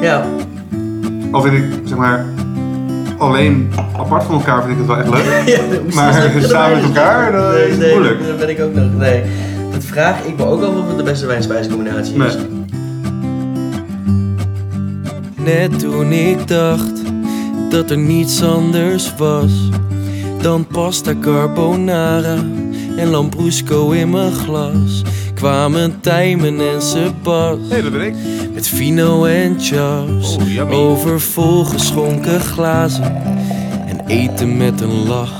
Ja. Al vind ik, zeg maar, alleen apart van elkaar vind ik het wel echt leuk. Ja, dat moest Maar ik zeggen. samen met elkaar, dat Nee, is nee, moeilijk. Daar ben ik ook nog. Nee. Dat vraag ik me ook af of het de beste wijn-spijscombinatie is. Nee. Net toen ik dacht dat er niets anders was dan pasta carbonara en lambrusco in mijn glas, kwamen Tijmen en Sebas Hé, dat ben ik. met Vino en Chaps Oh, yummy. over volgeschonken glazen en eten met een lach.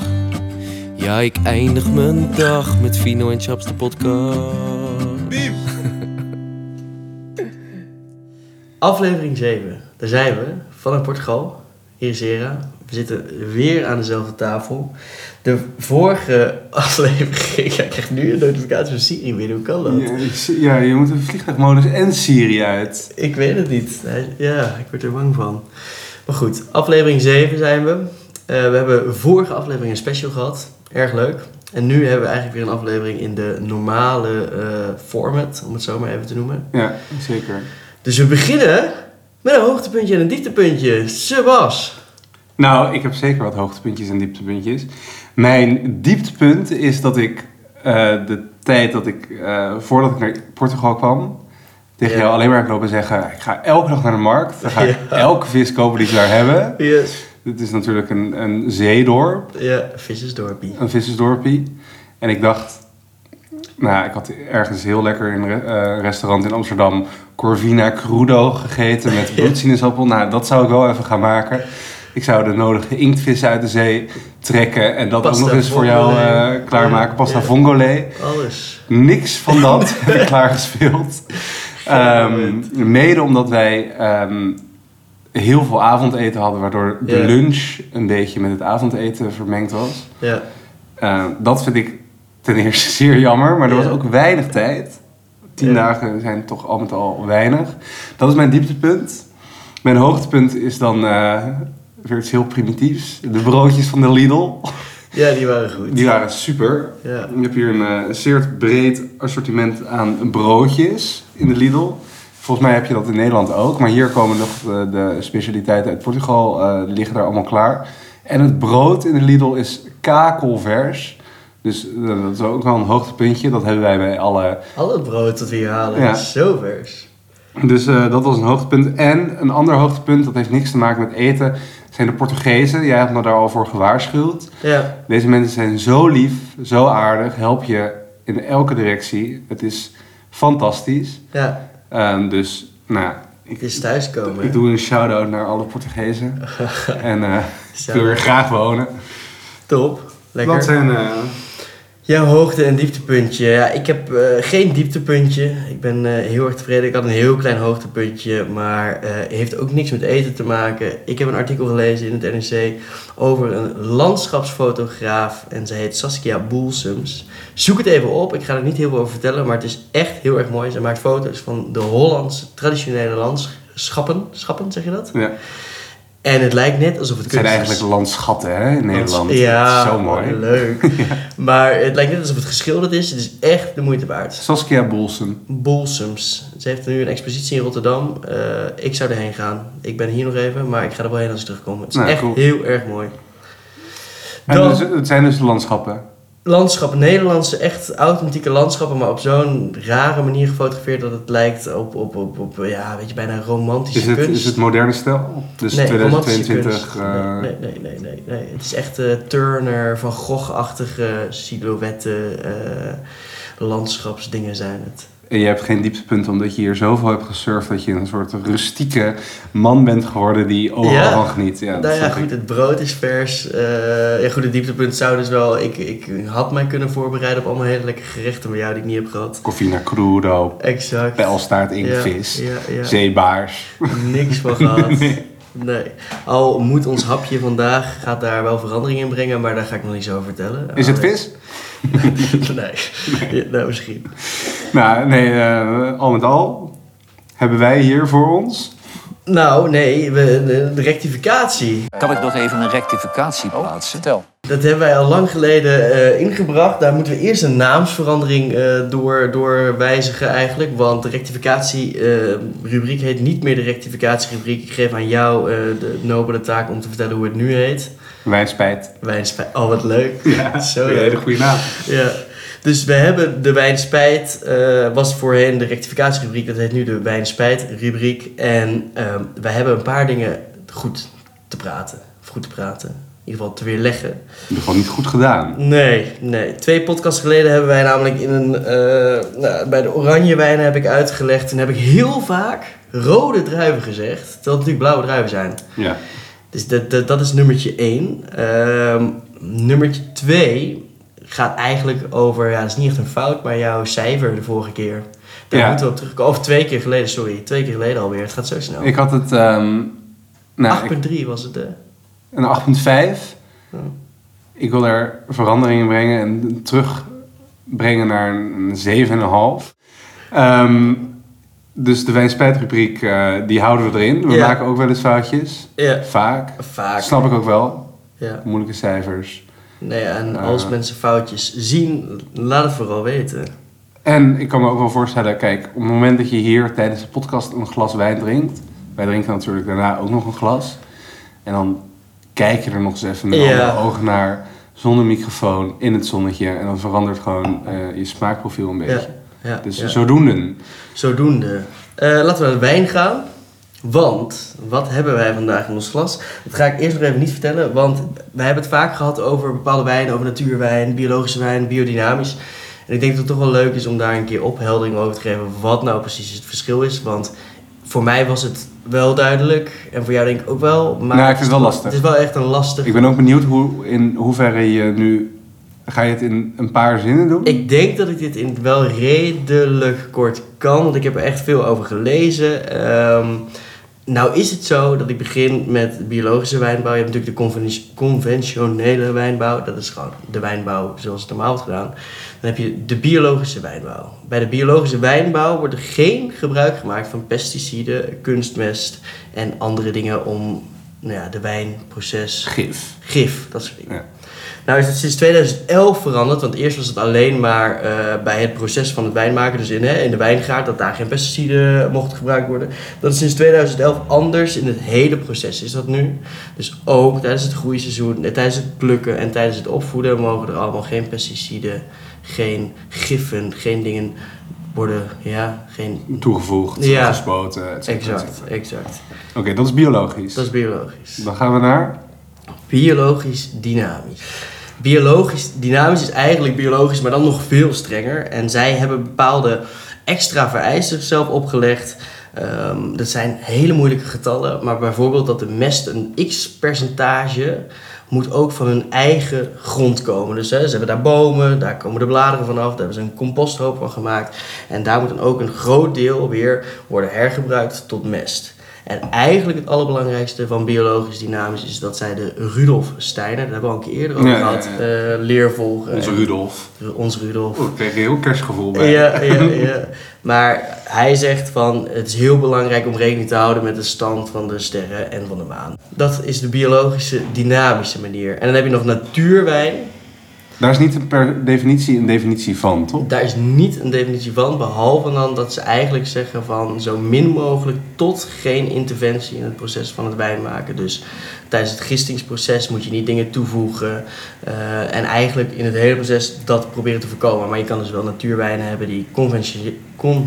Ja, ik eindig mijn dag met Vino en Chaps de podcast. Aflevering 7. Daar zijn we. Vanuit Portugal. Hier is Hera. We zitten weer aan dezelfde tafel. De vorige aflevering. Ja, ik krijg nu een notificatie van Siri weer. Hoe kan dat? Ja, ik zie- ja, je moet een vliegtuigmodus en Syrië uit. Ik weet het niet. Hij- Ja, ik word er bang van. Maar goed, aflevering 7 zijn we. Eh, we hebben vorige aflevering een special gehad. Erg leuk. En nu hebben we eigenlijk weer een aflevering in de normale eh, format, om het zo maar even te noemen. Ja, zeker. Dus we beginnen met een hoogtepuntje en een dieptepuntje. Sebas. Nou, ik heb zeker wat hoogtepuntjes en dieptepuntjes. Mijn dieptepunt is dat ik eh, de tijd dat ik, eh, voordat ik naar Portugal kwam, tegen Ja. jou alleen maar heb lopen zeggen: ik ga elke dag naar de markt. Dan ga ik elke vis kopen die ze daar hebben. Yes. Dit is natuurlijk een, een zeedorp, Ja, vissersdorpie. een vissersdorpie. En ik dacht, nou, ik had ergens heel lekker in een re- eh, restaurant in Amsterdam Corvina Crudo gegeten met bloedsinaasappel. Nou, dat zou ik wel even gaan maken. Ik zou de nodige inktvissen uit de zee trekken en dat Pasta ook nog eens voor jou vongole. eh, klaarmaken. Pasta Ja. vongole. Alles. Niks van dat heb ik klaargespeeld. Ehm mede omdat wij ehm, heel veel avondeten hadden, waardoor de Ja. lunch een beetje met het avondeten vermengd was. Ja. Eh, dat vind ik ten eerste zeer jammer, maar er was Ja. ook weinig tijd. Tien Ja. dagen zijn toch al met al weinig. Dat is mijn dieptepunt. Mijn hoogtepunt is dan eh, weer iets heel primitiefs. De broodjes van de Lidl. ja, die waren goed. Die waren super. Ja. Je hebt hier een eh, zeer breed assortiment aan broodjes in de Lidl. Volgens mij heb je dat in Nederland ook. Maar hier komen nog de, de specialiteiten uit Portugal. eh, die liggen daar allemaal klaar. En het brood in de Lidl is kakelvers. Dus eh, dat is ook wel een hoogtepuntje. Dat hebben wij bij alle. Al het brood dat we hier halen Ja. is zo vers. Dus eh, dat was een hoogtepunt. En een ander hoogtepunt, dat heeft niks te maken met eten, zijn de Portugezen. Jij hebt me daar al voor gewaarschuwd. Ja. Deze mensen zijn zo lief, zo aardig, help je in elke directie. Het is fantastisch. Ja. Ehm, dus, nou, ja, ik, Het is thuiskomen. ik doe een shout-out naar alle Portugezen. en eh ik wil er Shout-out. graag wonen. Top. Lekker. zijn... Jouw hoogte- en dieptepuntje. Ja, ik heb eh, geen dieptepuntje. Ik ben eh, heel erg tevreden. Ik had een heel klein hoogtepuntje, maar eh, heeft ook niks met eten te maken. Ik heb een artikel gelezen in het NRC over een landschapsfotograaf en ze heet Saskia Boelsums. Zoek het even op. Ik ga er niet heel veel over vertellen, maar het is echt heel erg mooi. Ze maakt foto's van de Hollandse traditionele landschappen. Schappen, zeg je dat? ja. En het lijkt net alsof het Het zijn kunst is. eigenlijk landschatten hè, in Nederland. Ja, Zo mooi. leuk. Maar het lijkt net alsof het geschilderd is. Het is echt de moeite waard. Saskia Boelsen. Bolsums. Ze heeft nu een expositie in Rotterdam. Eh, ik zou erheen gaan. Ik ben hier nog even, maar ik ga er wel heen als ik terugkom. Het is Nou, echt cool. heel erg mooi. En Dan- dus, het zijn dus de landschappen. Landschappen, Nederlandse, echt authentieke landschappen, maar op zo'n rare manier gefotografeerd dat het lijkt op, op, op, op ja, weet je, bijna romantische Is het, kunst. is het moderne stijl? Dus Nee, romantische 2022... kunst. eh, Nee, nee, nee, nee, nee. Het is echt eh, Turner, Van Gogh-achtige silhouetten, eh, landschapsdingen zijn het. En je hebt geen dieptepunt omdat je hier zoveel hebt gesurfd dat je een soort rustieke man bent geworden die overal Ja. van geniet. Ja, dat nou ja, snap ik. goed, het brood is vers. eh, ja, goed, het dieptepunt zou dus wel... Ik, ik had mij kunnen voorbereiden op allemaal hele lekkere gerechten bij jou die ik niet heb gehad. Corvina crudo, Exact. pijlstaart Ja, inktvis, Ja, ja, zeebaars. Niks van gehad. nee. Al moet ons hapje vandaag, gaat daar wel verandering in brengen, maar daar ga ik nog niet zo over vertellen. Is het Alleen- vis? nee. Ja, nou, misschien. Nou, nee, eh, al met al hebben wij hier voor ons. Nou, nee, we, de, de rectificatie. Kan ik nog even een rectificatie plaatsen? Vertel. Dat hebben wij al lang geleden eh, ingebracht. Daar moeten we eerst een naamsverandering eh, door, door wijzigen eigenlijk. Want de rectificatierubriek heet niet meer de rectificatierubriek. Ik geef aan jou eh, de nobele taak om te vertellen hoe het nu heet. Wijnspijt. Wijnspijt. Oh, wat leuk. Ja, Zo een hele leuk. goede naam. Ja. Dus we hebben de wijnspijt, eh, was voorheen de rectificatierubriek, dat heet nu de wijnspijtrubriek. En ehm, wij hebben een paar dingen goed te praten, of goed te praten, in ieder geval te weerleggen. Gewoon niet goed gedaan. Nee, nee. Twee podcasts geleden hebben wij namelijk in een, eh, nou, bij de oranje wijnen heb ik uitgelegd, en heb ik heel vaak rode druiven gezegd, terwijl het natuurlijk blauwe druiven zijn. Ja. Dus dat, dat, dat is nummertje 1. nummertje 2 gaat eigenlijk over, ja, dat is niet echt een fout, maar jouw cijfer de vorige keer. Daar Ja. moeten we op terugkomen. Of twee keer geleden, sorry. Twee keer geleden alweer. Het gaat zo snel. Ik had het ehm, nou, ik- 8,3 was het. eh. een 8,5. Ja. Ik wil er verandering in brengen en terugbrengen naar een 7,5. Ehm, dus de wijnspijtrubriek, eh die houden we erin. We Ja. maken ook wel eens foutjes. Ja. Vaak. Vaak. Snap ik ook wel. Ja. Moeilijke cijfers. Nee, en Ja. als mensen foutjes zien, laat het vooral weten. En ik kan me ook wel voorstellen, kijk, op het moment dat je hier tijdens de podcast een glas wijn drinkt. Wij drinken natuurlijk daarna ook nog een glas. En dan kijk je er nog eens even met Ja. andere ogen naar. Zonder microfoon, in het zonnetje. En dan verandert gewoon eh, je smaakprofiel een beetje. Ja. Ja. Dus ja. zodoende. Zodoende. Eh, laten we naar de wijn gaan. Want, wat hebben wij vandaag in ons glas? Dat ga ik eerst nog even niet vertellen. Want we hebben het vaak gehad over bepaalde wijnen. Over natuurwijn, biologische wijn, biodynamisch. En ik denk dat het toch wel leuk is om daar een keer opheldering over te geven. Wat nou precies het verschil is. Want voor mij was het wel duidelijk. En voor jou denk ik ook wel. Maar nou, ik vind het wel lastig. het is wel echt een lastig... Ik ben ook benieuwd hoe, in hoeverre je nu... Ga je het in een paar zinnen doen? Ik denk dat ik dit in wel redelijk kort kan, want ik heb er echt veel over gelezen. Ehm, nou is het zo dat ik begin met biologische wijnbouw. Je hebt natuurlijk de conveni- conventionele wijnbouw. Dat is gewoon de wijnbouw zoals het normaal wordt gedaan. Dan heb je de biologische wijnbouw. Bij de biologische wijnbouw wordt er geen gebruik gemaakt van pesticiden, kunstmest en andere dingen om nou ja, de wijnproces Gif. gif, dat soort dingen. Ja. Nou is het sinds 2011 veranderd, want eerst was het alleen maar eh, bij het proces van het wijnmaken, dus in, hè, in de wijngaard, dat daar geen pesticiden mochten gebruikt worden. Dat is sinds 2011 anders in het hele proces is dat nu. Dus ook tijdens het groeiseizoen, eh, tijdens het plukken en tijdens het opvoeden mogen er allemaal geen pesticiden, geen giffen, geen dingen worden, ja, geen... Toegevoegd, Ja. gespoten, et cetera, et Exact, cetera. exact. Oké, dat is biologisch. Dat is biologisch. Dan gaan we naar... Biologisch dynamisch. Biologisch dynamisch is eigenlijk biologisch, maar dan nog veel strenger. En zij hebben bepaalde extra vereisten zichzelf opgelegd. Ehm, dat zijn hele moeilijke getallen, maar bijvoorbeeld dat de mest een x-percentage moet ook van hun eigen grond komen. Dus hè, ze hebben daar bomen, daar komen de bladeren vanaf, daar hebben ze een composthoop van gemaakt. En daar moet dan ook een groot deel weer worden hergebruikt tot mest. En eigenlijk het allerbelangrijkste van biologisch dynamisch is dat zij de Rudolf Steiner, daar hebben we al een keer eerder over Ja, ja, ja. gehad, eh, leer volgen. Onze En- Rudolf. Ru- Ons Rudolf. Oh, ik kreeg een heel kerstgevoel bij. Ja, ja, ja. Maar hij zegt van het is heel belangrijk om rekening te houden met de stand van de sterren en van de maan. Dat is de biologische dynamische manier. En dan heb je nog natuurwijn. Daar is niet een per definitie een definitie van, toch? Daar is niet een definitie van, behalve dan dat ze eigenlijk zeggen van zo min mogelijk tot geen interventie in het proces van het wijn maken. Dus tijdens het gistingsproces moet je niet dingen toevoegen. eh, en eigenlijk in het hele proces dat proberen te voorkomen. Maar je kan dus wel natuurwijnen hebben die conventie-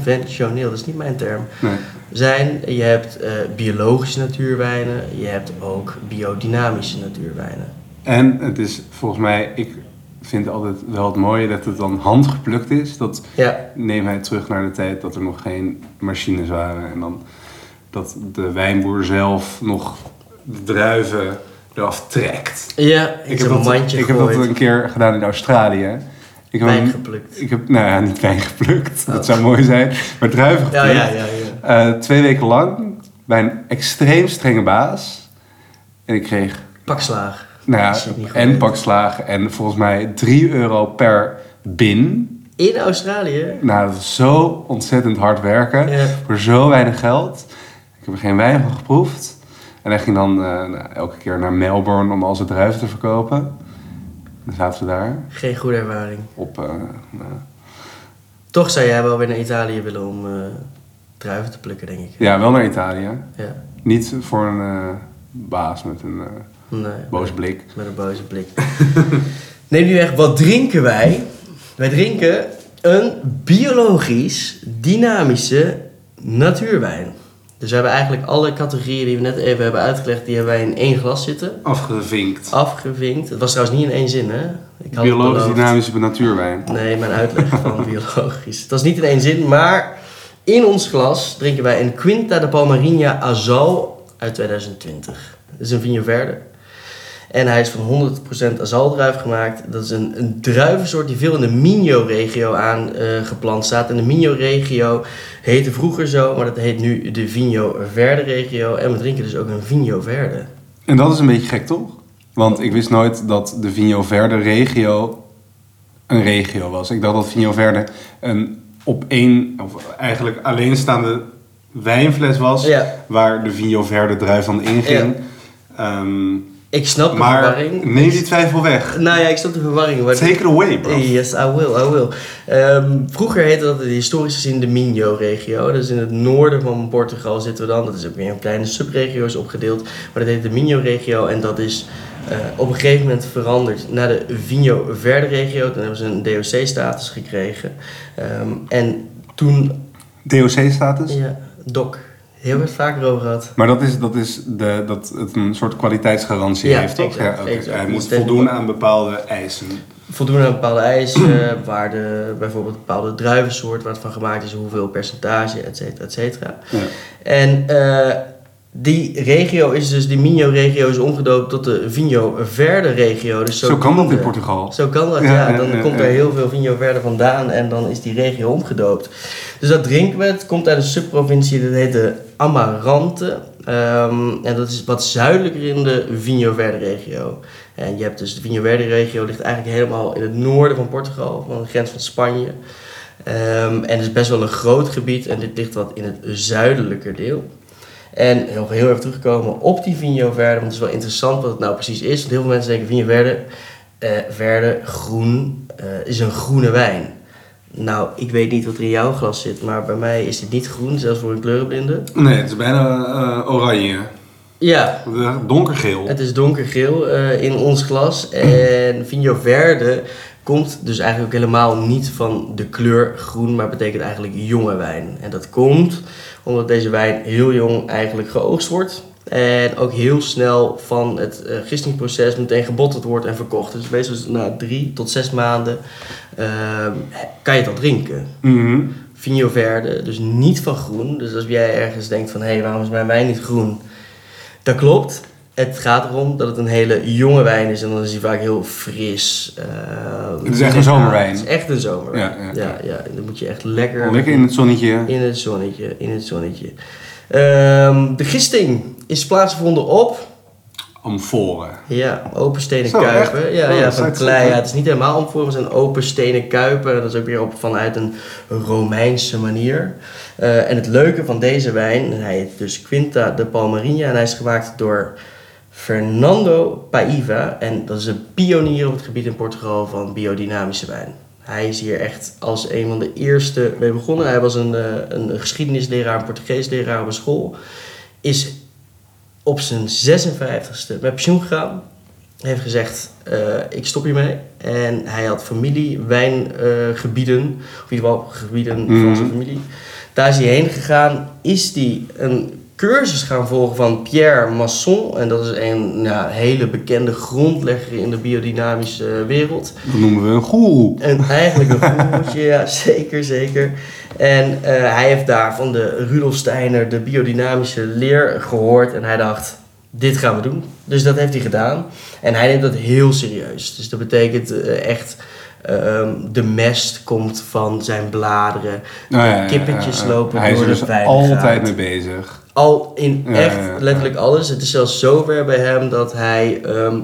conventioneel, dat is niet mijn term, Nee. zijn. Je hebt eh, biologische natuurwijnen, je hebt ook biodynamische natuurwijnen. En het is volgens mij... Ik vind altijd wel het mooie dat het dan handgeplukt is. Dat Ja, neem hij terug naar de tijd dat er nog geen machines waren. En dan dat de wijnboer zelf nog de druiven eraf trekt. ja ik heb een mandje ik heb dat gegooid, een keer gedaan in Australië. Ik heb, wijn een- geplukt. ik heb nou ja, niet wijn geplukt, Oh. dat zou mooi zijn, maar druiven Ja, geplukt. ja, ja, ja. Eh, twee weken lang bij een extreem strenge baas. En ik kreeg Pakslaag. nou Dat is ja, ook niet goed. en pakslagen en volgens mij 3 euro per bin. In Australië? Nou, dat is zo ontzettend hard werken. Ja. Voor zo weinig geld. Ik heb er geen wijn van geproefd. En hij ging dan eh, nou, elke keer naar Melbourne om al zijn druiven te verkopen. Dan zaten ze daar Geen goede ervaring. op... eh, nou, Toch zou jij wel weer naar Italië willen om eh, druiven te plukken, denk ik. ja, wel naar Italië. Ja. Niet voor een eh, baas met een eh, Nee. boos blik. Met een boze blik. Neem nu echt, wat drinken wij? Wij drinken een biologisch dynamische natuurwijn. Dus we hebben eigenlijk alle categorieën die we net even hebben uitgelegd, die hebben wij in één glas zitten. Afgevinkt. Afgevinkt. Het was trouwens niet in één zin, hè? Ik had het Biologisch beloofd. dynamische natuurwijn. Nee, mijn uitleg van biologisch. Het was niet in één zin, maar in ons glas drinken wij een Quinta de Palmarinha Azal uit 2020. Dat is een Verde. En hij is van 100% azaldruif gemaakt. Dat is een, een druivensoort die veel in de Minho-regio aan eh, geplant staat. En de Minho-regio heette vroeger zo, maar dat heet nu de Vinho Verde-regio. En we drinken dus ook een Vinho Verde. En dat is een beetje gek, toch? Want ik wist nooit dat de Vigno Verde regio een regio was. Ik dacht dat Vigno Verde een op één, of eigenlijk alleenstaande wijnfles was... Ja. waar de Vigno Verde druif van inging. Ehm, Ik snap de maar verwarring. neem die twijfel weg. Nou ja, ik snap de verwarring. maar- Take it away, bro. Yes, I will, I will. Ehm, vroeger heette dat historisch gezien de Minho-regio. Dus in het noorden van Portugal zitten we dan. Dat is ook weer in kleine subregio's opgedeeld. Maar dat heet de Minho-regio. En dat is eh, op een gegeven moment veranderd naar de Vinho-Verde-regio. Toen hebben ze een DOC-status gekregen. Ehm, en toen... DOC-status. Ja, DOC. Heel erg vaker over gehad. Maar dat is, dat is de, dat het een soort kwaliteitsgarantie Ja, heeft, toch? exact, oké. exact. Hij Dus moet tegen- voldoen aan bepaalde eisen. voldoen aan bepaalde eisen, eh, waar de, bijvoorbeeld bepaalde druivensoort waar het van gemaakt is, hoeveel percentage, et cetera, et cetera. Ja. En eh, die regio is dus, die Minho-regio is omgedoopt tot de Vinho-Verde-regio. Dus Zo kan dat in zodoende- Portugal. Zo kan dat, Ja, ja. ja, Dan ja, komt ja. er heel veel Vinho-Verde vandaan en dan is die regio omgedoopt. Dus dat drinken we. Het komt uit een subprovincie, dat heet de Amarante. Ehm, en dat is wat zuidelijker in de Vinho-Verde-regio. En je hebt dus de Vinho-Verde-regio ligt eigenlijk helemaal in het noorden van Portugal, van de grens van Spanje. Ehm, en het is best wel een groot gebied en dit ligt wat in het zuidelijker deel. En nog heel even terugkomen op die Vinho Verde, want het is wel interessant wat het nou precies is. Want heel veel mensen denken Vinho Verde, eh, Verde, groen, eh, is een groene wijn. Nou, ik weet niet wat er in jouw glas zit, maar bij mij is dit niet groen, zelfs voor een kleurenblinde. Nee, het is bijna eh, oranje. Ja, Donkergeel. Het is donkergeel eh, in ons glas. En Vinho Verde komt dus eigenlijk ook helemaal niet van de kleur groen, maar betekent eigenlijk jonge wijn. En dat komt omdat deze wijn heel jong eigenlijk geoogst wordt. En ook heel snel van het eh gistingproces meteen gebotteld wordt en verkocht. Dus meestal is het na drie tot zes maanden ehm, kan je dat drinken. Mhm. Vinho Verde, dus niet van groen. Dus als jij ergens denkt van, hé, hey, waarom is mijn wijn niet groen? Dat klopt. Het gaat erom dat het een hele jonge wijn is en dan is die vaak heel fris. eh, Het is echt een zomerwijn. Het is echt een zomerwijn. Ja, Ja, ja, ja. ja, En dan moet je echt lekker... Lekker in het zonnetje. In het zonnetje, in het zonnetje. Ehm, de gisting is plaatsgevonden op... Amforen. Ja, open stenen Zo, kuipen. echt? Ja, Oh, ja, dat van staat- klei. Ja, het is niet helemaal omvormd, het zijn open stenen kuipen. Dat is ook weer op, vanuit een Romeinse manier. Eh, en het leuke van deze wijn, en hij heet dus Quinta de Palmarinha. En hij is gemaakt door Fernando Paiva. En dat is een pionier op het gebied in Portugal van biodynamische wijn. Hij is hier echt als een van de eerste mee begonnen. Hij was een, eh, een geschiedenisleraar, een Portugeesleraar op een school. Is op zijn 56ste met pensioen gegaan. Hij heeft gezegd, eh, ik stop hiermee. En hij had familie, wijngebieden, of in ieder geval gebieden Mhm. van zijn familie. Daar is hij heen gegaan. Is hij een cursus gaan volgen van Pierre Masson. En dat is een nou, hele bekende grondlegger in de biodynamische eh, wereld. Dat noemen we een goeroe. En eigenlijk een voeltje, ja, zeker, zeker. En eh, hij heeft daar van de Rudolf Steiner de biodynamische leer gehoord. En hij dacht, dit gaan we doen. Dus dat heeft hij gedaan. En hij neemt dat heel serieus. Dus dat betekent eh, echt, ehm, de mest komt van zijn bladeren. Nou ja, ja, ja, Kippetjes ja. lopen Hij is er door de dus vijngaard. altijd mee bezig. Al in Ja, echt ja, ja. letterlijk alles. Het is zelfs zover bij hem dat hij. ehm,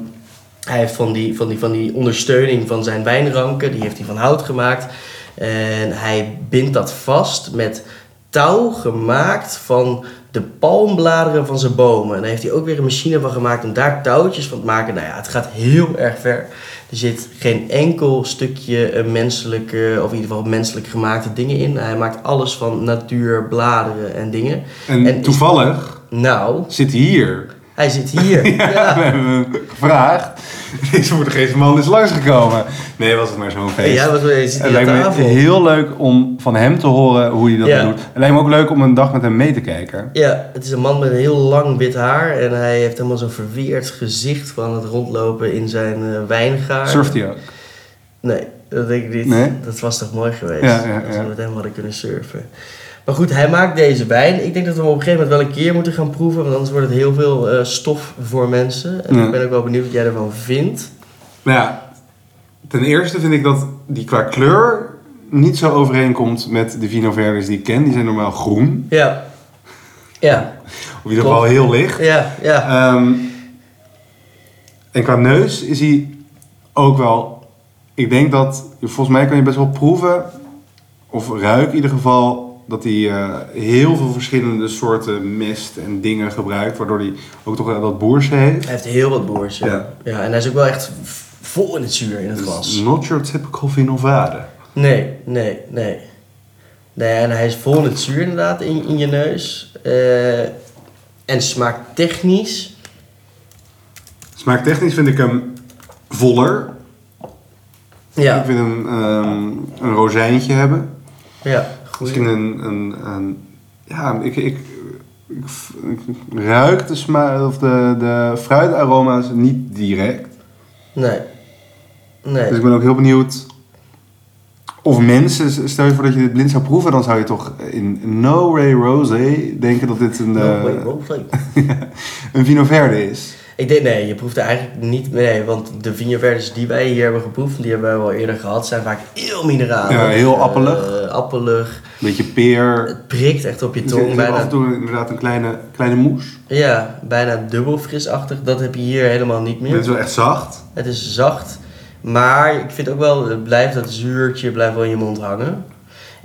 hij heeft van die, van, die, van die ondersteuning van zijn wijnranken, die heeft hij van hout gemaakt. En hij bindt dat vast met touw gemaakt van de palmbladeren van zijn bomen. En daar heeft hij ook weer een machine van gemaakt om daar touwtjes van te maken. Nou ja, het gaat heel erg ver. Er zit geen enkel stukje eh, menselijke, of in ieder geval menselijk gemaakte dingen in. Hij maakt alles van natuur, bladeren en dingen. En, En is- toevallig Nou, zit hij hier. hij zit hier. Ja, we hebben hem gevraagd. Deze Portugese man is langsgekomen. Nee, was het maar zo'n feest. Ja, wat wil je? Zit het hier aan lijkt me tafel? heel leuk om van hem te horen hoe hij dat Ja. doet. Het lijkt me ook leuk om een dag met hem mee te kijken. Ja, het is een man met een heel lang wit haar. En hij heeft helemaal zo'n verweerd gezicht van het rondlopen in zijn eh, wijngaard. Surft hij ook. Nee, dat denk ik niet. Nee? Dat was toch mooi geweest Ja, ja, als ja. we met hem hadden kunnen surfen. Maar goed, hij maakt deze wijn. Ik denk dat we hem op een gegeven moment wel een keer moeten gaan proeven. Want anders wordt het heel veel eh, stof voor mensen. En Ja. ik ben ook wel benieuwd wat jij ervan vindt. Nou ja, ten eerste vind ik dat die qua kleur niet zo overeenkomt met de Vino Verdes die ik ken. Die zijn normaal groen. Ja. Ja, Of in ieder geval heel licht. ja, ja. Ehm, en qua neus is hij ook wel. Ik denk dat. Volgens mij kan je best wel proeven. Of ruik in ieder geval. Dat hij eh, heel veel verschillende soorten mest en dingen gebruikt. Waardoor hij ook toch wel dat boerse heeft. Hij heeft heel wat boers. Ja. Ja. Ja. en hij is ook wel echt v- vol in het zuur in het glas. Dus Not your typical vinovade. Nee, nee, nee. Nee, en hij is vol in het zuur inderdaad in, in je neus. Eh, en smaakt technisch. Smaaktechnisch vind ik hem voller. Ja, Ik vind hem ehm, een rozijntje hebben. ja. Goed. Misschien een, een, een- ja, ik, ik, ik, ik ruik de, sma of de, de fruitaroma's niet direct. Nee. Nee. Dus ik ben ook heel benieuwd of mensen, stel je voor dat je dit blind zou proeven, dan zou je toch in No Way Rosé denken dat dit een, No way, eh, no way. een Vino Verde is. Ik denk, nee, je proeft er eigenlijk niet mee. Want de vingerverdes die wij hier hebben geproefd, die hebben wij wel eerder gehad, zijn vaak heel mineralig. Ja, heel eh, appelig. appelig. Beetje peer. Het prikt echt op je Er zit- er tong. zit af en Bijna, toe inderdaad een kleine, kleine moes. ja, bijna dubbel frisachtig. Dat heb je hier helemaal niet meer. Dit is wel echt zacht. Het is zacht, maar ik vind ook wel, het blijft dat zuurtje blijft wel in je mond hangen.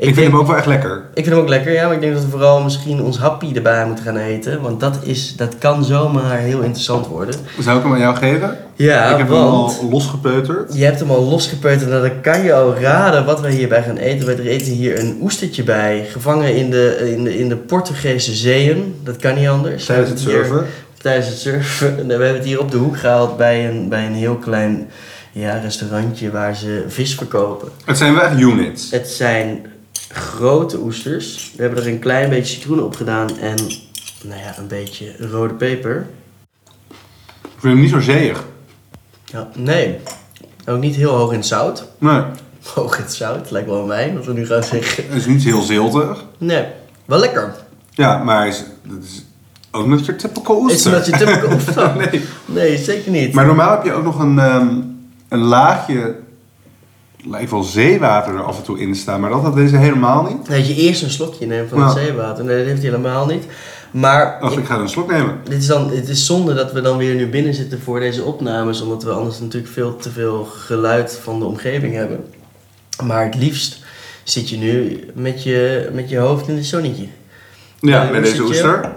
Ik, vind hem ook wel echt lekker. ik vind hem ook lekker, ja, maar ik denk dat we vooral misschien ons happy erbij moeten gaan eten. Want dat, is, dat kan zomaar heel interessant worden. Zou ik hem aan jou geven? Ja, ik heb want hem al losgepeuterd. je hebt hem al losgepeuterd en dan kan je al raden wat we hierbij gaan eten. Wij eten hier een oestertje bij, gevangen in de, in de, in de Portugese zeeën. Dat kan niet anders. Tijdens het We hebben hier- surfen. tijdens het surfen. En We hebben het hier op de hoek gehaald bij een, bij een heel klein ja, restaurantje waar ze vis verkopen. Het zijn wel echt units. Het zijn grote oesters. We hebben er een klein beetje citroen op gedaan en nou ja, een beetje rode peper. Ik vind hem niet zo zeeg. Ja, nee, ook niet heel hoog in zout. Nee, Hoog in zout, lijkt wel aan mij, wat we nu gaan zeggen. het is niet heel ziltig. Nee, wel lekker. Ja, maar hij is, dat is ook niet je typical Is oester. omdat je typical oester? nee. Nee, zeker niet. Maar normaal heb je ook nog een, ehm, een laagje, lijkt wel zeewater er af en toe in staan. Maar dat had deze helemaal niet. Dat je eerst een slokje neemt van het Ja. zeewater. Nee, dat heeft hij helemaal niet. Maar Dacht, ik- ik ga er een slok nemen. Dit is dan, het is zonde dat we dan weer nu binnen zitten voor deze opnames, omdat we anders natuurlijk veel te veel geluid van de omgeving hebben. Maar het liefst zit je nu met je, met je hoofd in het zonnetje. Ja, Ja, bij hoe deze zit je? oester.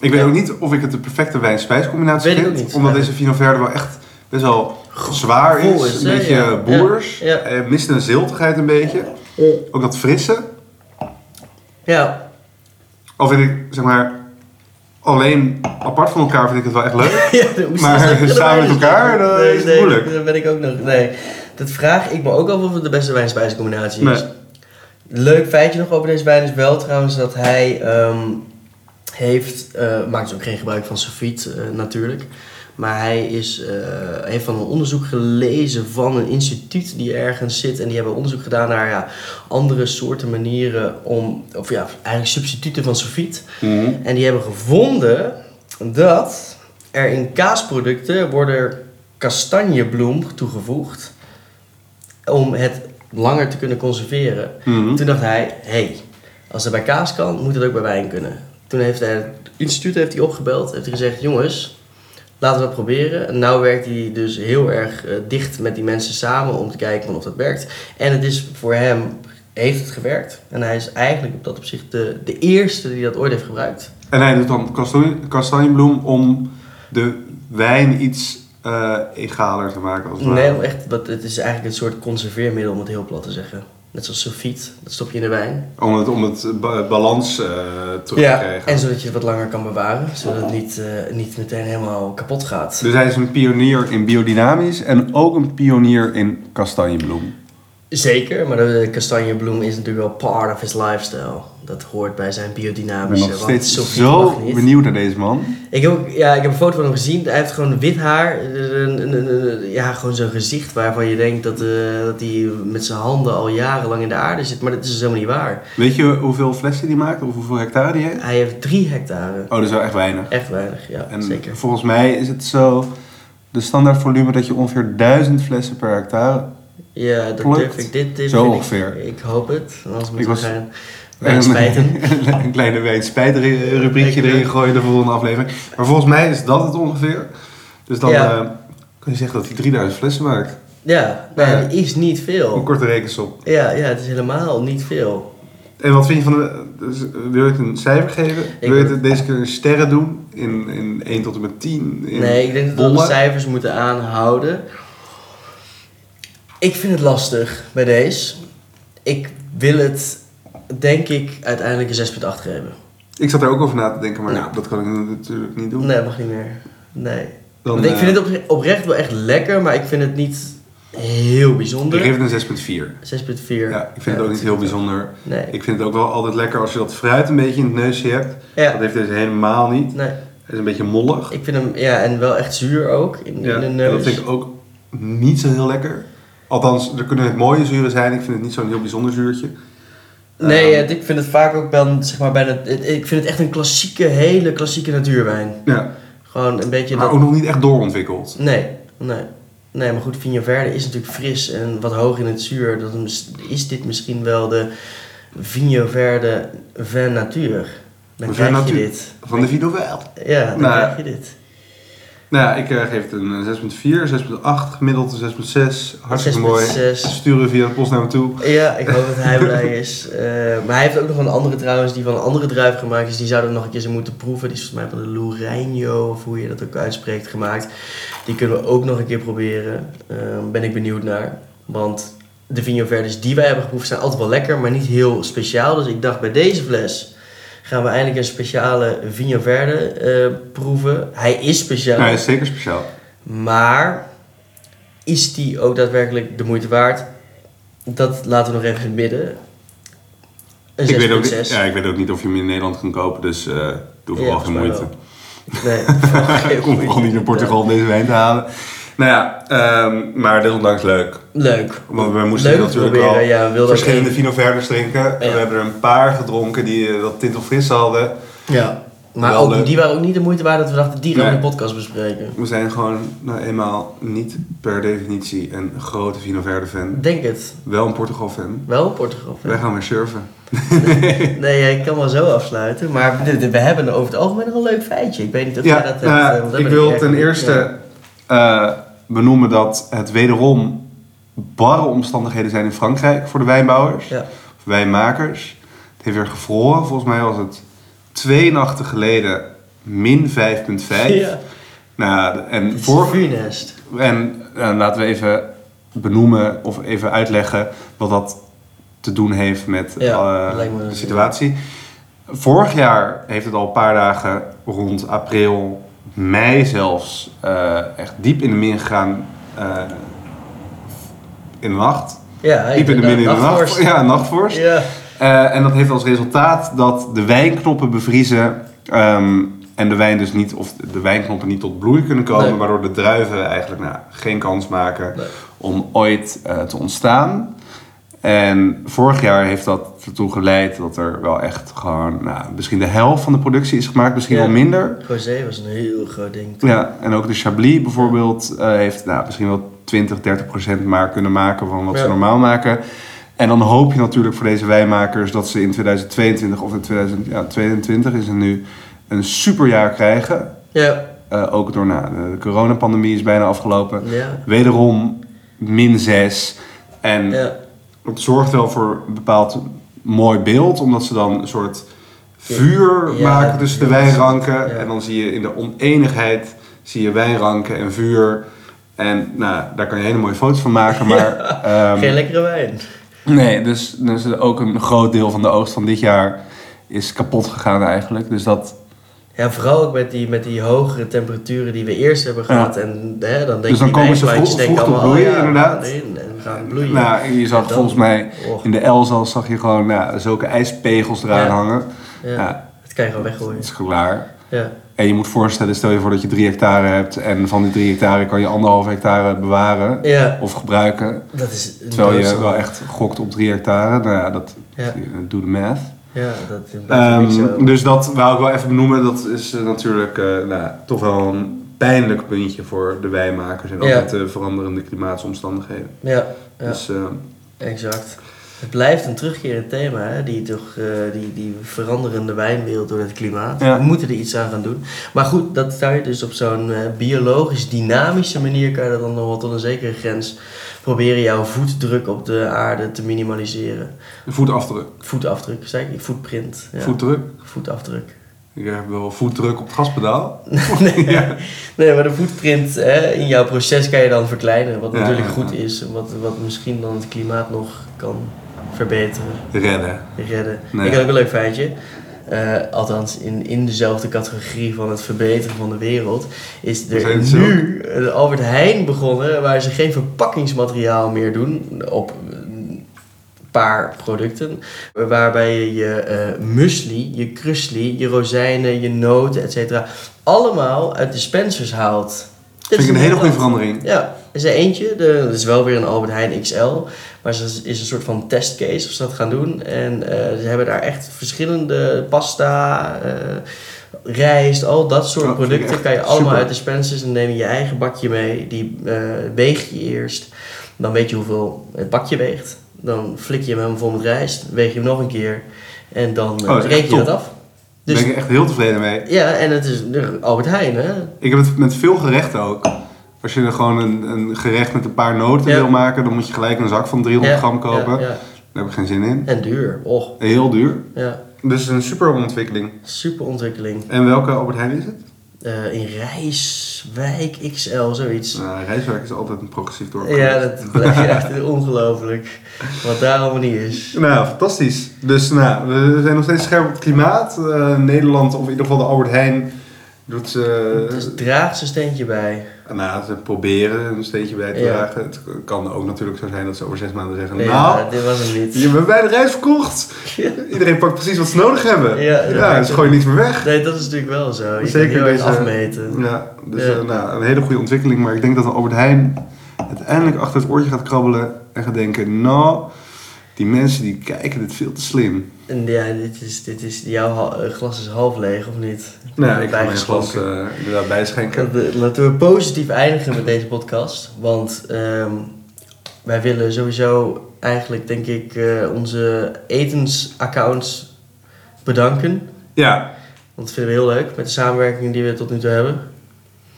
Ik weet Eh, Ja. ook niet of ik het de perfecte wijn-spijscombinatie Weet ik vind. ook niet. Omdat Nee. deze Vino Verde wel echt best wel zwaar is. vol is, een hè? beetje Ja. boers. Ja. Ja. Eh, mist een ziltigheid een beetje. Ook dat frisse. Ja, Al vind ik, zeg maar, alleen apart van elkaar vind ik het wel echt leuk. ja de oesters Maar zijn er samen met bijna. elkaar, dan is het nee, moeilijk. Dat ben ik ook nog. Nee, dat vraag ik me ook af of het de beste wijn-spijscombinatie is. Nee. Leuk feitje nog over deze wijn is wel trouwens dat hij ehm, heeft, eh, maakt dus ook geen gebruik van sulfiet eh, natuurlijk. Maar hij is, eh, heeft van een onderzoek gelezen van een instituut die ergens zit. En die hebben onderzoek gedaan naar ja, andere soorten manieren om, of ja, eigenlijk substituten van sulfiet. En die hebben gevonden dat er in kaasproducten worden kastanjebloem toegevoegd om het langer te kunnen conserveren. Mhm. Toen dacht hij, hé, hey, als dat bij kaas kan, moet het ook bij wijn kunnen. Toen heeft hij het instituut heeft hij opgebeld, heeft hij gezegd, jongens, laten we dat proberen. En nou werkt hij dus heel erg eh, dicht met die mensen samen om te kijken van of dat werkt. En het is voor hem heeft het gewerkt. En hij is eigenlijk op dat opzicht de, de eerste die dat ooit heeft gebruikt. En hij doet dan kastanje- kastanjebloem om de wijn iets eh, egaler te maken. Als het ware. Nee, om echt, wat, het is eigenlijk een soort conserveermiddel om het heel plat te zeggen. Net zoals sulfiet, dat stop je in de wijn. Om het, om het ba- balans eh, terug te krijgen. En zodat je het wat langer kan bewaren, zodat het niet, eh, niet meteen helemaal kapot gaat. Dus hij is een pionier in biodynamisch en ook een pionier in kastanjebloem. Zeker, maar de kastanjebloem is natuurlijk wel part of his lifestyle. Dat hoort bij zijn Ik ben biodynamische, nog want steeds sulfiet zo mag niet. benieuwd naar deze man. Ik heb, ook- ja, ik heb een foto van hem gezien. Hij heeft gewoon wit haar. Een, een- een- een- ja, gewoon zo'n gezicht waarvan je denkt dat, eh, dat hij met zijn handen al jarenlang in de aarde zit. Maar dat is dus helemaal niet waar. Weet je hoeveel flessen die maakt of hoeveel hectare die heeft? Hij heeft drie hectare. Oh, dat is wel echt weinig. Echt weinig, ja, En zeker. volgens mij is het zo de standaard volume dat je ongeveer 1000 flessen per hectare. Ja, dat plukt. durf ik. Dit, dit Zo vind ik- ongeveer. Ik, hoop het. Anders moet Ik ik was- gaan. Wijn spijten. een kleine wijnspijtrubriekje Lekker. erin gooien de volgende aflevering. Maar volgens mij is dat het ongeveer. Dus dan Ja. eh, kun je zeggen dat hij 3000 flessen maakt. Ja, nou, Ja. ja, dat is niet veel. Een korte rekensom. Ja, ja, het is helemaal niet veel. En wat vind je van de... dus, eh, wil je het een cijfer geven? wil je het deze keer een sterren doen? In, in 1 tot en met 10? In Nee, ik denk dat we de bollen? cijfers moeten aanhouden. Ik vind het lastig bij deze. Ik wil het, denk ik, uiteindelijk een 6,8 geven. Ik zat er ook over na te denken, maar Nou. dat kan ik natuurlijk niet doen. Nee, mag niet meer. Nee. Dan, Want ik eh, vind het op, oprecht wel echt lekker, maar ik vind het niet heel Ik bijzonder. 6,4. geef het een 6,4. Ja, ik vind het ook niet heel bijzonder. Nee. Ik vind het ook wel altijd lekker als je dat fruit een beetje in het neusje hebt. Dat Ja. heeft deze helemaal niet. Nee. Het is een beetje mollig. Ik vind hem, ja, en wel echt zuur ook. In, Ja, in de en neus. dat vind ik ook niet zo heel lekker. Althans, er kunnen het mooie zuren zijn. Ik vind het niet zo'n heel bijzonder zuurtje. Nee, Ehm. het- ik vind het vaak ook wel, zeg maar, bijna, het- ik vind het echt een klassieke, hele klassieke natuurwijn. Ja, Gewoon een beetje maar dat... ook nog niet echt doorontwikkeld. Nee, nee. Nee, maar goed, Vigno Verde is natuurlijk fris en wat hoog in het zuur. Dat is- is dit misschien wel de Vigno Verde van natuur. Dan Van krijg natuur. je dit. Van de Vido wel. Ja, dan Nou, krijg je dit. Nou ja, ik eh, geef het een 6,4, 6,8, gemiddeld een 6,6. Hartstikke mooi. 6,6. Sturen via de post naar me toe. Ja, ik hoop dat hij blij is. Eh, maar hij heeft ook nog een andere trouwens, die van een andere druif gemaakt is. Die zouden we nog een keer zo moeten proeven. Die is volgens mij van de Lourinho, of hoe je dat ook uitspreekt, gemaakt. Die kunnen we ook nog een keer proberen. Eh, ben ik benieuwd naar. Want de Vino Verdes die wij hebben geproefd zijn altijd wel lekker, maar niet heel speciaal. Dus ik dacht bij deze fles gaan we eindelijk een speciale Vino Verde eh, proeven. Hij is speciaal. Nou, hij is zeker speciaal. Maar is die ook daadwerkelijk de moeite waard? Dat laten we nog even in het midden. Een 6,6. Ik weet, ook, niet- ja, ik weet ook niet of je hem in Nederland kunt kopen, dus eh, doe vooral volgens geen mij moeite. Nee, geen Om moeite. vooral niet naar Portugal om deze wijn te halen. Nou ja, ehm, maar desondanks leuk. Ja. Leuk. Want we moesten Leuk natuurlijk proberen, al ja, we wilden ook verschillende één- Vino Verders drinken. En we hebben er een paar gedronken die eh, dat tint of fris hadden. Ja. Maar Wel ook, leuk. die waren ook niet de moeite waard dat we dachten, die gaan we Nee. in de podcast bespreken. We zijn gewoon nou eenmaal niet per definitie een grote Vino Verde fan. Denk het. Wel een Portugal fan. Wel Portugal. hè? Wij gaan weer surfen. Nee, ja, ik kan wel zo afsluiten. Maar we- we hebben over het algemeen nog een leuk feitje. Ik weet niet of jij Ja, dat hebt. nou, eh, want dat ik ben wil erg- ten ja. eerste eh, benoemen dat het wederom barre omstandigheden zijn in Frankrijk voor de wijnbouwers, Ja. of wijnmakers. Het heeft weer gevroren. Volgens mij was het twee nachten geleden min 5,5. Ja. Nou, en Het is voor, funest. en eh, laten we even benoemen of even uitleggen wat dat te doen heeft met Ja, eh, dat lijkt me de natuurlijk. situatie. Vorig jaar heeft het al een paar dagen rond april, mei zelfs, eh, echt diep in de min gegaan eh, in de nacht. Ja, diep in de min in de nacht. nachtvorst. Ja, nachtvorst. Ja. Eh, en dat heeft als resultaat dat de wijnknoppen bevriezen. ehm, en de wijn dus niet, of de wijnknoppen niet tot bloei kunnen komen, Nee. waardoor de druiven eigenlijk nou, geen kans maken Nee. om ooit eh, te ontstaan. En vorig jaar heeft dat ertoe geleid dat er wel echt gewoon, nou, misschien de helft van de productie is gemaakt, misschien Ja. wel minder. Rosé was een heel groot ding. toen. Ja, en ook de Chablis bijvoorbeeld eh, heeft nou, misschien wel 20, 30 procent maar kunnen maken van wat ze Ja. normaal maken. En dan hoop je natuurlijk voor deze wijnmakers dat ze in 2022 of in 2022 is het nu een superjaar krijgen. Ja. Eh, ook door nou, de coronapandemie is bijna afgelopen. Ja. Wederom min 6. En ja. dat zorgt wel voor een bepaald mooi beeld, omdat ze dan een soort vuur Ja, maken tussen de ja, dat is- wijnranken. ja. En dan zie je in de oneenigheid zie je wijnranken en vuur. En nou, daar kan je hele mooie foto's van maken, maar... ehm, Geen lekkere wijn. Nee, dus, dus ook een groot deel van de oogst van dit jaar is kapot gegaan eigenlijk. Dus dat, Ja, vooral ook met die, met die hogere temperaturen die we eerst hebben gehad. En hè, dan denk Dus dan je, die komen ze wijnplantjes denken vroeg- vroeg te allemaal, bloeien, oh ja, inderdaad. We gaan erin en we gaan bloeien. nou, je zag Dan- volgens mij Och, in de Elzas zag je gewoon nou, zulke ijspegels eraan Ja. hangen. ja, Ja, dat kan je gewoon dat weggooien. is klaar. Ja. En je moet voorstellen, stel je voor dat je drie hectare hebt en van die drie hectare kan je anderhalf hectare bewaren ja, of gebruiken. dat is een Terwijl je doodslag. wel echt gokt op drie hectare. Nou ja, dat Ja. doe de math. Ja, dat is Ehm, zo. dus dat wou ik wel even benoemen. Dat is eh, natuurlijk eh, nou, toch wel een pijnlijk puntje voor de wijnmakers. En ook Ja. met de veranderende klimaatsomstandigheden. Ja, ja. Dus eh, Exact. Het blijft een terugkerend thema, hè? Die, toch, eh, die, die veranderende wijnwereld door het klimaat. Ja. We moeten er iets aan gaan doen. Maar goed, dat zou je dus op zo'n eh, biologisch dynamische manier... kan je dat dan nog wel tot een zekere grens proberen jouw voetdruk op de aarde te minimaliseren. de voetafdruk. Voetafdruk, zei ik? Voetprint. Ja. Voetdruk. Voetafdruk. Ik heb wel voetdruk op het gaspedaal. nee, Ja. nee, maar de voetprint hè, in jouw proces kan je dan verkleinen. Wat Ja, natuurlijk ja, goed ja. is. en Wat, wat misschien dan het klimaat nog kan verbeteren. Redden. redden. Nee. Ik had ook een leuk feitje. Eh, althans, in, in dezelfde categorie van het verbeteren van de wereld is er Zijn het nu een Albert Heijn begonnen waar ze geen verpakkingsmateriaal meer doen op een paar producten. Waarbij je je eh muesli, je krusli, je rozijnen, je noten, et cetera, allemaal uit dispensers haalt. Vind ik een hele goede verandering. verandering. Ja, er is er eentje. De, dat is wel weer een Albert Heijn XL. Maar ze is een soort van testcase of ze dat gaan doen. En eh, ze hebben daar echt verschillende pasta, eh, rijst, al dat soort Dat vind ik producten. echt Kan je allemaal super. uit dispensers en neem je je eigen bakje mee. Die eh, weeg je eerst. Dan weet je hoeveel het bakje weegt. Dan flik je hem helemaal vol met rijst. Weeg je hem nog een keer. En dan eh, Oh, dat is echt reken je dat top. af. Daar Dus ben ik echt heel tevreden mee. ja, en het is de Albert Heijn, hè? Ik heb het met veel gerechten ook. Als je er gewoon een, een gerecht met een paar noten Ja. wil maken, dan moet je gelijk een zak van 300 Ja, gram kopen. ja, ja. Daar heb ik geen zin in. En duur, och. Heel duur. Ja. Dus een super ontwikkeling. Super ontwikkeling. En welke Albert Heijn is het? Eh, in Rijswijk XL, zoiets. Nou, Rijswijk is altijd een progressief dorp. Ja, dat blijf je echt ongelooflijk. Wat daar allemaal niet is. Nou, fantastisch. Dus nou, we zijn nog steeds scherp op het klimaat. Eh, Nederland, of in ieder geval de Albert Heijn, doet... ze. Dus draag zijn steentje bij. nou, ze proberen een steentje bij te Ja. dragen. Het kan ook natuurlijk zo zijn dat ze over zes maanden zeggen... Ja, nou, dit was hem je niet. hebt bij de reis verkocht. Ja. Iedereen pakt precies wat ze nodig hebben. Ja, Ja, ja. dus gooi je niks meer weg. Nee, dat is natuurlijk wel zo. Je kan Zeker heel erg deze- afmeten. Ja, dus Ja. eh, nou, een hele goede ontwikkeling. Maar ik denk dat de Albert Heijn uiteindelijk achter het oortje gaat krabbelen... en gaat denken, nou, die mensen die kijken dit veel te slim. En ja, dit is, dit is, jouw ha- eh, glas is half leeg, of niet? Nou, ik ga mijn Bijgeschonken. glas eh, inderdaad bijschenken. Laten we- Laten we positief eindigen met deze podcast. Want ehm, wij willen sowieso eigenlijk, denk ik, eh, onze etensaccounts bedanken. Ja, Want dat vinden we heel leuk met de samenwerking die we tot nu toe hebben.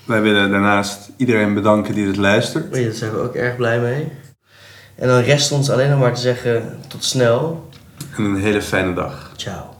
wij willen daarnaast iedereen bedanken die dit luistert. Oei, Daar zijn we ook erg blij mee. En dan rest ons alleen nog maar te zeggen tot snel. En een hele fijne dag. Ciao.